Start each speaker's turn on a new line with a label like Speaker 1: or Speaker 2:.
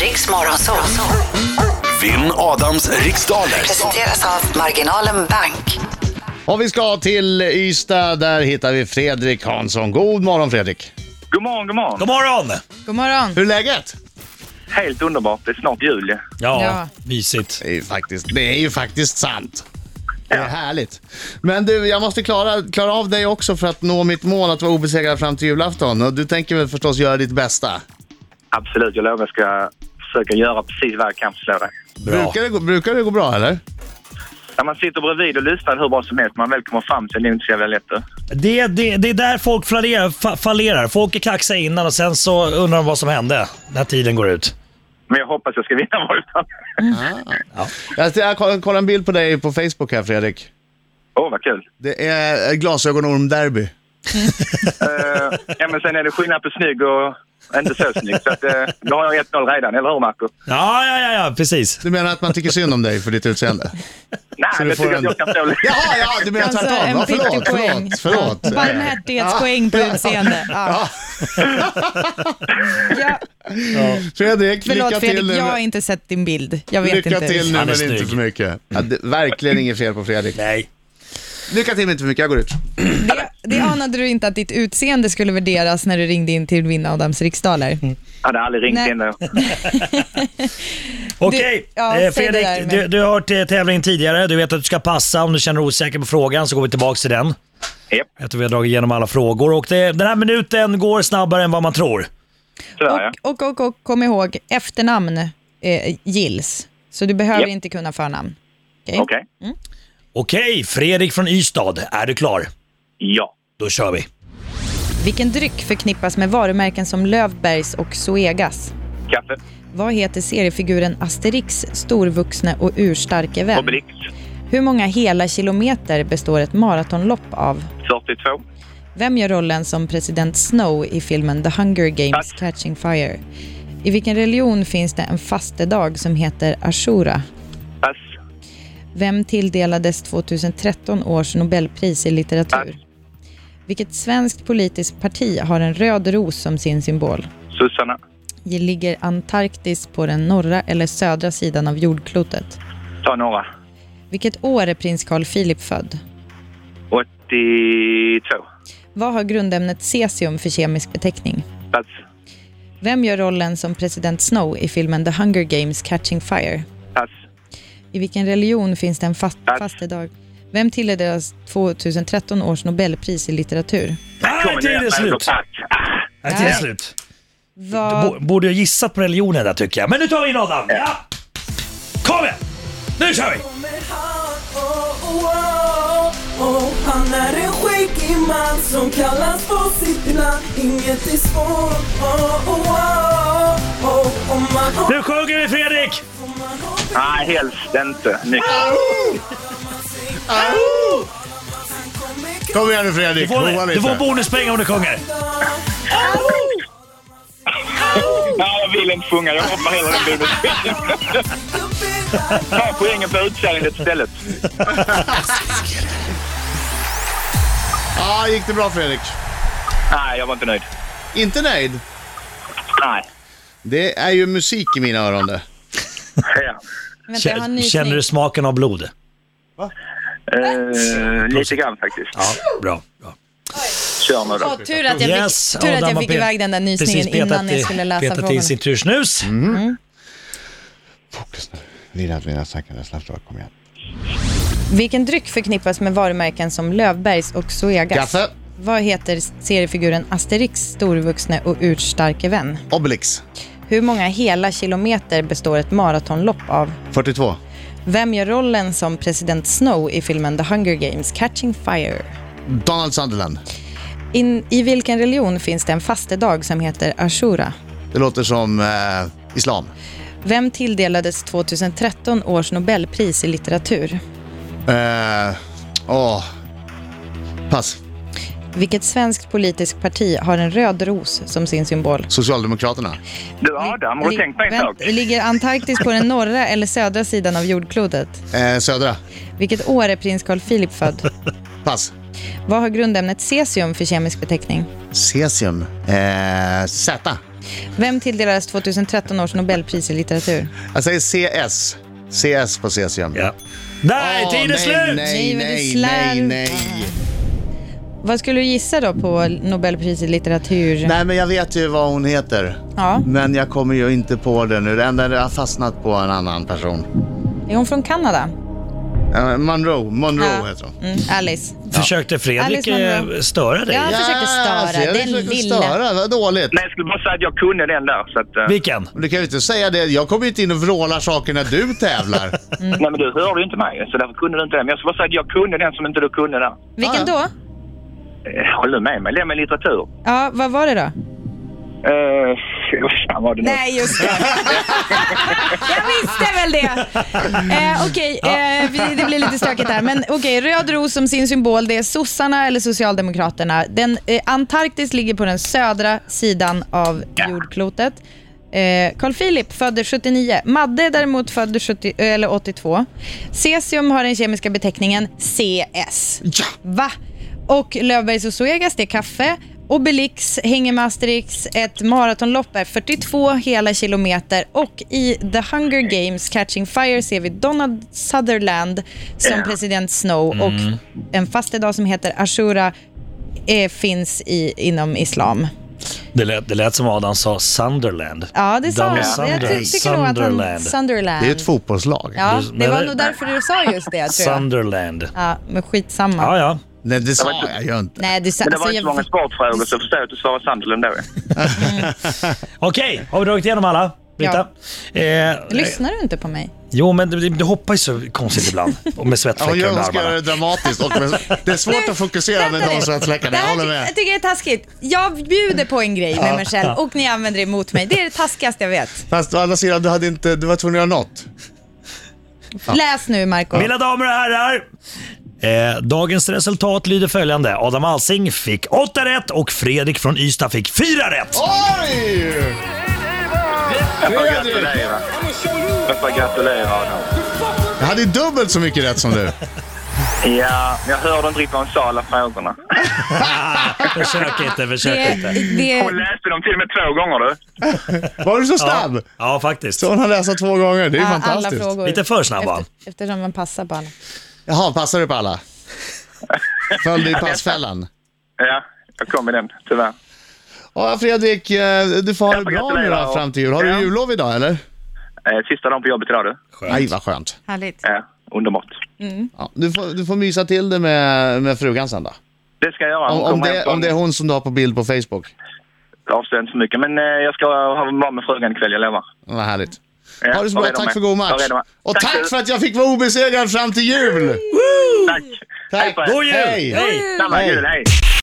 Speaker 1: Riks Morgonzoo.
Speaker 2: Vinn Adams riksdaler.
Speaker 1: Presenteras av Marginalen Bank.
Speaker 3: Och vi ska till Ystad, där hittar vi Fredrik Hansson. God morgon Fredrik!
Speaker 4: God morgon, god morgon.
Speaker 5: God morgon!
Speaker 6: God morgon.
Speaker 3: Hur är läget?
Speaker 4: Helt underbart. Det är snart jul. ju.
Speaker 5: Ja,
Speaker 6: Ja.
Speaker 5: mysigt.
Speaker 3: Det är ju faktiskt, det är ju faktiskt sant. Det är härligt. Men du, jag måste klara, klara av dig också för att nå mitt mål att vara obesegrad fram till julafton. Och du tänker väl förstås göra ditt bästa?
Speaker 4: Absolut, jag lovar jag ska försöka göra precis vad jag kan för att slå dig.
Speaker 5: Bra.
Speaker 3: Brukar det, gå- brukar det gå bra eller?
Speaker 4: När man sitter bredvid och lyssnar hur bra som helst, man väl kommer fram så är det nog inte så jävla lätt. du.
Speaker 5: Det, det, det är där folk fallerar, fa- fallerar. Folk är kaxiga innan och sen så undrar de vad som hände när tiden går ut.
Speaker 4: Men jag hoppas jag ska vinna valutan.
Speaker 3: Mm. Jag, jag koll- kollar en bild på dig på Facebook här Fredrik.
Speaker 4: Åh, vad kul.
Speaker 3: Det är glasögonormderby.
Speaker 4: Eh, ja, men sen är det skillnad på snygg och inte så snygg. Så att, eh, då har jag 1-0 redan, eller hur Marco?
Speaker 5: Ja, ja, ja, ja precis.
Speaker 3: Du menar att man tycker synd om dig för ditt utseende?
Speaker 4: Nej,
Speaker 3: du
Speaker 4: det
Speaker 3: får
Speaker 4: tycker jag att jag
Speaker 3: en-
Speaker 4: kan stå lite.
Speaker 3: Jaha, ja, du menar
Speaker 6: Alltså,
Speaker 3: tvärtom.
Speaker 6: en
Speaker 3: Ja, förlåt,
Speaker 6: viktig poäng.
Speaker 3: förlåt, förlåt.
Speaker 6: Barmhärtighetspoäng på utseende. Ja. Ja,
Speaker 3: Fredrik, lycka
Speaker 6: förlåt
Speaker 3: till.
Speaker 6: Fredrik,
Speaker 3: nu.
Speaker 6: jag har inte sett din bild. Jag vet
Speaker 3: Lycka
Speaker 6: inte.
Speaker 3: till nu,
Speaker 5: Han är
Speaker 3: men inte
Speaker 5: snygg.
Speaker 3: för mycket. Ja, det, verkligen inget fel på Fredrik.
Speaker 5: Nej.
Speaker 3: Lycka till, men inte för mycket. Jag går ut.
Speaker 6: Det, det anade du inte att ditt utseende skulle värderas när du ringde in till Vinn Adams riksdaler.
Speaker 4: Jag hade aldrig ringt
Speaker 6: Nej.
Speaker 4: in. eh, då.
Speaker 5: Okej,
Speaker 6: ja,
Speaker 5: eh,
Speaker 6: säg det
Speaker 5: Fredrik.
Speaker 6: där, men-
Speaker 5: du, du har hört eh, tävlingen tidigare. Du vet att du ska passa. Om du känner dig osäker på frågan så går vi tillbaka till den.
Speaker 4: Japp,
Speaker 5: Efter vi har dragit igenom alla frågor. Och det, den här minuten går snabbare än vad man tror.
Speaker 4: tyvärr ja.
Speaker 6: Och, och, och, och kom ihåg, efternamn eh, gills. Så du behöver
Speaker 4: Japp.
Speaker 6: inte kunna förnamn. Okej?
Speaker 4: Okej.
Speaker 5: Okej, Fredrik från Ystad. Är du klar?
Speaker 4: Ja.
Speaker 5: Då kör vi.
Speaker 6: Vilken dryck förknippas med varumärken som Lövbergs och Zoegas?
Speaker 4: Kaffe.
Speaker 6: Vad heter seriefiguren Asterix storvuxne och urstarke vän?
Speaker 4: Obelix.
Speaker 6: Hur många hela kilometer består ett maratonlopp av?
Speaker 4: 42.
Speaker 6: Vem gör rollen som president Snow i filmen The Hunger Games
Speaker 4: Pass.
Speaker 6: Catching Fire? I vilken religion finns det en fastedag som heter Ashura?
Speaker 4: Pass.
Speaker 6: Vem tilldelades 2013 års Nobelpris i
Speaker 4: Pass.
Speaker 6: litteratur? Vilket svenskt politiskt parti har en röd ros som sin symbol?
Speaker 4: Susanna.
Speaker 6: Ligger Antarktis på den norra eller södra sidan av jordklotet?
Speaker 4: Ta några.
Speaker 6: Vilket år är prins Carl Philip född?
Speaker 4: 82.
Speaker 6: Vad har grundämnet cesium för kemisk beteckning?
Speaker 4: Pass.
Speaker 6: Vem gör rollen som president Snow i filmen The Hunger Games Catching Fire?
Speaker 4: Pass.
Speaker 6: I vilken religion finns det en fast,
Speaker 4: Pass.
Speaker 6: fastedag? Vem tilldelades 2013 års Nobelpris i litteratur?
Speaker 5: Nej,
Speaker 4: Kommer
Speaker 5: tiden är
Speaker 4: nu,
Speaker 5: slut.
Speaker 4: Pass. Ah,
Speaker 5: Nej, tiden är
Speaker 6: Nej.
Speaker 5: slut.
Speaker 6: Vad...
Speaker 5: Bo- Borde jag gissat på religionen där tycker jag. Men nu tar vi in Adam. Ja. Kom igen! Nu kör vi!
Speaker 7: kommer han, oh, oh, oh, oh. Han är en skäggig man som kallas på sitt namn Inget är svårt, oh, oh, oh, oh. Om man har,
Speaker 5: Nu sjunger vi Fredrik!
Speaker 7: om man har
Speaker 4: Nej, helst inte. Nytt.
Speaker 3: Kom igen nu, Fredrik.
Speaker 5: Du får,
Speaker 3: Prova
Speaker 5: du
Speaker 3: lite.
Speaker 5: får en bonuspoäng om du sjunger.
Speaker 4: Nej, jag vill inte sjunga. Jag hoppar hellre den bilden. Ta poängen på utkärringen istället.
Speaker 3: Ja, gick det bra, Fredrik?
Speaker 4: Nej, jag var inte nöjd.
Speaker 3: Inte nöjd?
Speaker 4: Nej.
Speaker 3: Det är ju musik i mina öron det.
Speaker 4: Ja.
Speaker 6: Vänta, jag har en
Speaker 5: Känner
Speaker 6: nysning.
Speaker 5: du smaken av blod?
Speaker 4: Eh, lite grann faktiskt.
Speaker 5: Ja, bra. bra.
Speaker 4: Kör nu då.
Speaker 6: Åh, tur att jag fick,
Speaker 5: Yes,
Speaker 6: tur att
Speaker 5: Adam
Speaker 6: jag
Speaker 5: har
Speaker 6: fick
Speaker 5: pe-
Speaker 6: iväg den där
Speaker 5: Precis
Speaker 6: nysningen
Speaker 5: petat
Speaker 6: innan
Speaker 5: i-
Speaker 6: jag skulle läsa
Speaker 5: Petat
Speaker 6: frågan.
Speaker 5: i sin tursnus.
Speaker 3: Mm. Lilla att mina tankar är snabbt kom igen.
Speaker 6: Vilken dryck förknippas med varumärken som Lövbergs och Zoegas?
Speaker 3: Kaffe.
Speaker 6: Vad heter seriefiguren Asterix storvuxne och urstarke vän?
Speaker 3: Obelix,
Speaker 6: Hur många hela kilometer består ett maratonlopp av?
Speaker 3: 42.
Speaker 6: Vem gör rollen som president Snow i filmen The Hunger Games Catching Fire?
Speaker 3: Donald Sunderland.
Speaker 6: In, I vilken religion finns det en fastedag som heter Ashura?
Speaker 3: Det låter som eh, islam.
Speaker 6: Vem tilldelades 2013 års Nobelpris i litteratur?
Speaker 3: Eh, åh. Pass.
Speaker 6: Vilket svenskt politiskt parti har en röd ros som sin symbol?
Speaker 3: Socialdemokraterna.
Speaker 4: Du Adam, har du
Speaker 6: Li-
Speaker 4: tänkt på en
Speaker 6: vänt-
Speaker 4: sak?
Speaker 6: Ligger Antarktis på den norra eller södra sidan av jordklotet?
Speaker 3: Eh, södra.
Speaker 6: Vilket år är prins Carl Philip född?
Speaker 3: Pass.
Speaker 6: Vad har grundämnet cesium för kemisk beteckning?
Speaker 3: Cesium. Eh, Z.
Speaker 6: Vem tilldelades 2013 års Nobelpris i litteratur?
Speaker 3: Jag säger CS. CS på cesium.
Speaker 5: Ja. Där,
Speaker 3: Åh,
Speaker 5: tiden är
Speaker 3: nej,
Speaker 5: slut!
Speaker 3: Nej,
Speaker 6: Nej, men du
Speaker 3: nej, nej,
Speaker 6: slarv.
Speaker 3: nej.
Speaker 6: Vad skulle du gissa då på Nobelpris i litteratur?
Speaker 3: Nej, men jag vet ju vad hon heter.
Speaker 6: Ja.
Speaker 3: Men jag kommer ju inte på det nu. Det enda jag har fastnat på är en annan person.
Speaker 6: Är hon från Kanada?
Speaker 3: Eh, Monroe, Monroe heter hon.
Speaker 6: Mm, Alice.
Speaker 5: Försökte Fredrik
Speaker 6: Alice Monroe.
Speaker 5: eh, störa dig?
Speaker 6: Ja. Jag försökte störa,
Speaker 3: så jag
Speaker 6: den
Speaker 3: försökte
Speaker 6: lilla.
Speaker 3: Störa. Vad dåligt.
Speaker 4: Nej, jag skulle bara säga att jag kunde den där. Så att, eh,
Speaker 5: Vilken?
Speaker 3: Men Du kan ju inte säga det. Jag kommer ju inte in och vrålar saker när du tävlar.
Speaker 4: Nej, men du hörde ju inte mig, så därför kunde du inte den. Men jag skulle bara säga att jag kunde den som inte du kunde där.
Speaker 6: Vilken
Speaker 3: Ja,
Speaker 6: då?
Speaker 4: Eh, Håller du med mig? Det med litteratur.
Speaker 6: Ja, vad var det då?
Speaker 4: Eh, vad fan var det nu?
Speaker 6: Nej, just det. Jag visste väl det. Eh, okej, eh, vi- det blir lite stökigt här. Men okej, röd ros som sin symbol, det är sossarna eller socialdemokraterna. Den, eh, Antarktis ligger på den södra sidan av jordklotet. Eh, Carl Philip föddes 79. Madde är däremot född 70, eller 82. Cesium har den kemiska beteckningen CS.
Speaker 3: Ja.
Speaker 6: Va? Och Löfbergs och Zoegas, det är kaffe. Obelix hänger med Asterix. Ett maratonlopp är 42 hela kilometer. Och i The Hunger Games Catching Fire ser vi Donald Sutherland som president Snow och en fastedag som heter Ashura eh, finns i, inom islam.
Speaker 5: Det lät, det lät som Adam sa Sunderland.
Speaker 6: Ja, det sa
Speaker 5: Donald
Speaker 6: han. Jag ty- tycker nog att han...
Speaker 5: Sunderland.
Speaker 6: Sunderland.
Speaker 3: Det är ju ett fotbollslag.
Speaker 6: Ja,
Speaker 5: Du-
Speaker 6: det
Speaker 5: men
Speaker 6: var
Speaker 5: det-
Speaker 6: nog därför du sa just det, tror jag.
Speaker 5: Sunderland.
Speaker 6: Ja, men skitsamma.
Speaker 5: Ja, ja.
Speaker 3: Nej, det sa jag ju inte.
Speaker 6: Nej, du sa...
Speaker 4: Men det var
Speaker 6: alltså,
Speaker 4: inte så
Speaker 6: jag-
Speaker 4: många sportfrågor, så jag förstår att du svarade Sunderland då.
Speaker 5: Okej, har vi dragit igenom alla? Britta? Eh,
Speaker 6: Lyssnar du inte på mig?
Speaker 5: Jo, men du, du hoppar ju så konstigt ibland. Och med
Speaker 3: Ja, Hon,
Speaker 5: svettfläckar
Speaker 3: gör,
Speaker 5: under
Speaker 3: hon ska göra
Speaker 5: armarna.
Speaker 3: det dramatiskt. Och med, det är svårt att fokusera med
Speaker 6: Vänta
Speaker 3: de
Speaker 6: nu.
Speaker 3: svettfläckarna.
Speaker 6: Det
Speaker 3: Jag
Speaker 6: här
Speaker 3: håller
Speaker 6: ty-
Speaker 3: med.
Speaker 6: Jag tycker det är taskigt. Jag bjuder på en grej med mig själv och ni använder det emot mig. Det är det taskigaste jag vet.
Speaker 3: Fast å andra sidan, du, hade inte, du var tvungen att göra något.
Speaker 6: Läs nu, Marco.
Speaker 5: Mina damer och herrar! Eh, dagens resultat lyder följande. Adam Alsing fick 8 rätt och Fredrik från Ystad fick 4 rätt.
Speaker 3: Oj!
Speaker 4: Jag får gratulera. Jag får gratulera Adam.
Speaker 3: Jag hade ju dubbelt så mycket rätt som du.
Speaker 4: Ja, men jag hörde inte riktigt vad hon sa alla frågorna.
Speaker 5: Försök inte, försök
Speaker 6: Det,
Speaker 5: inte.
Speaker 6: det,
Speaker 4: Hon läste dem till och med två gånger du.
Speaker 3: Var du så snabb?
Speaker 5: Ja, faktiskt.
Speaker 3: Så hon har läst två gånger. Det är ju
Speaker 6: ja, alla
Speaker 3: fantastiskt.
Speaker 6: frågor.
Speaker 5: Lite för snabb var han.
Speaker 6: Efter, eftersom man passar på alla.
Speaker 3: Jaha, passar du på alla? Föll du i passfällan?
Speaker 4: Ja, jag kom i den, tyvärr.
Speaker 3: Ja, Fredrik, eh, du får ha det bra
Speaker 4: får
Speaker 3: nu
Speaker 4: gratulera
Speaker 3: då
Speaker 4: och-
Speaker 3: fram till jul. Har
Speaker 4: Ja.
Speaker 3: du jullov idag eller?
Speaker 4: Eh, Sista dagen på jobbet idag du.
Speaker 3: Nej, vad skönt.
Speaker 6: Härligt.
Speaker 4: Ja, underbart.
Speaker 3: Ja, du, får, du får mysa till det med, med frugan sen då.
Speaker 4: Det ska jag göra.
Speaker 3: Om,
Speaker 4: Hon
Speaker 3: om,
Speaker 4: kommer
Speaker 3: det,
Speaker 4: hem
Speaker 3: om det är
Speaker 4: från-
Speaker 3: hon som du har på bild på Facebook.
Speaker 4: Jag avslöjar inte så mycket, men eh, jag ska ha- vara med frugan ikväll, jag lovar.
Speaker 3: Vad härligt.
Speaker 4: Ja,
Speaker 3: Ha det så
Speaker 4: var
Speaker 3: bra.
Speaker 4: redo
Speaker 3: Tack
Speaker 4: med.
Speaker 3: för god
Speaker 4: Var
Speaker 3: match.
Speaker 4: redo med.
Speaker 3: Och tack
Speaker 4: du.
Speaker 3: för att jag fick vara obesegrad fram till jul!
Speaker 4: Tack! Hej på er.
Speaker 5: God jul!
Speaker 3: Hej.
Speaker 5: Hej.
Speaker 4: Samma
Speaker 3: Hej.
Speaker 4: jul, hej!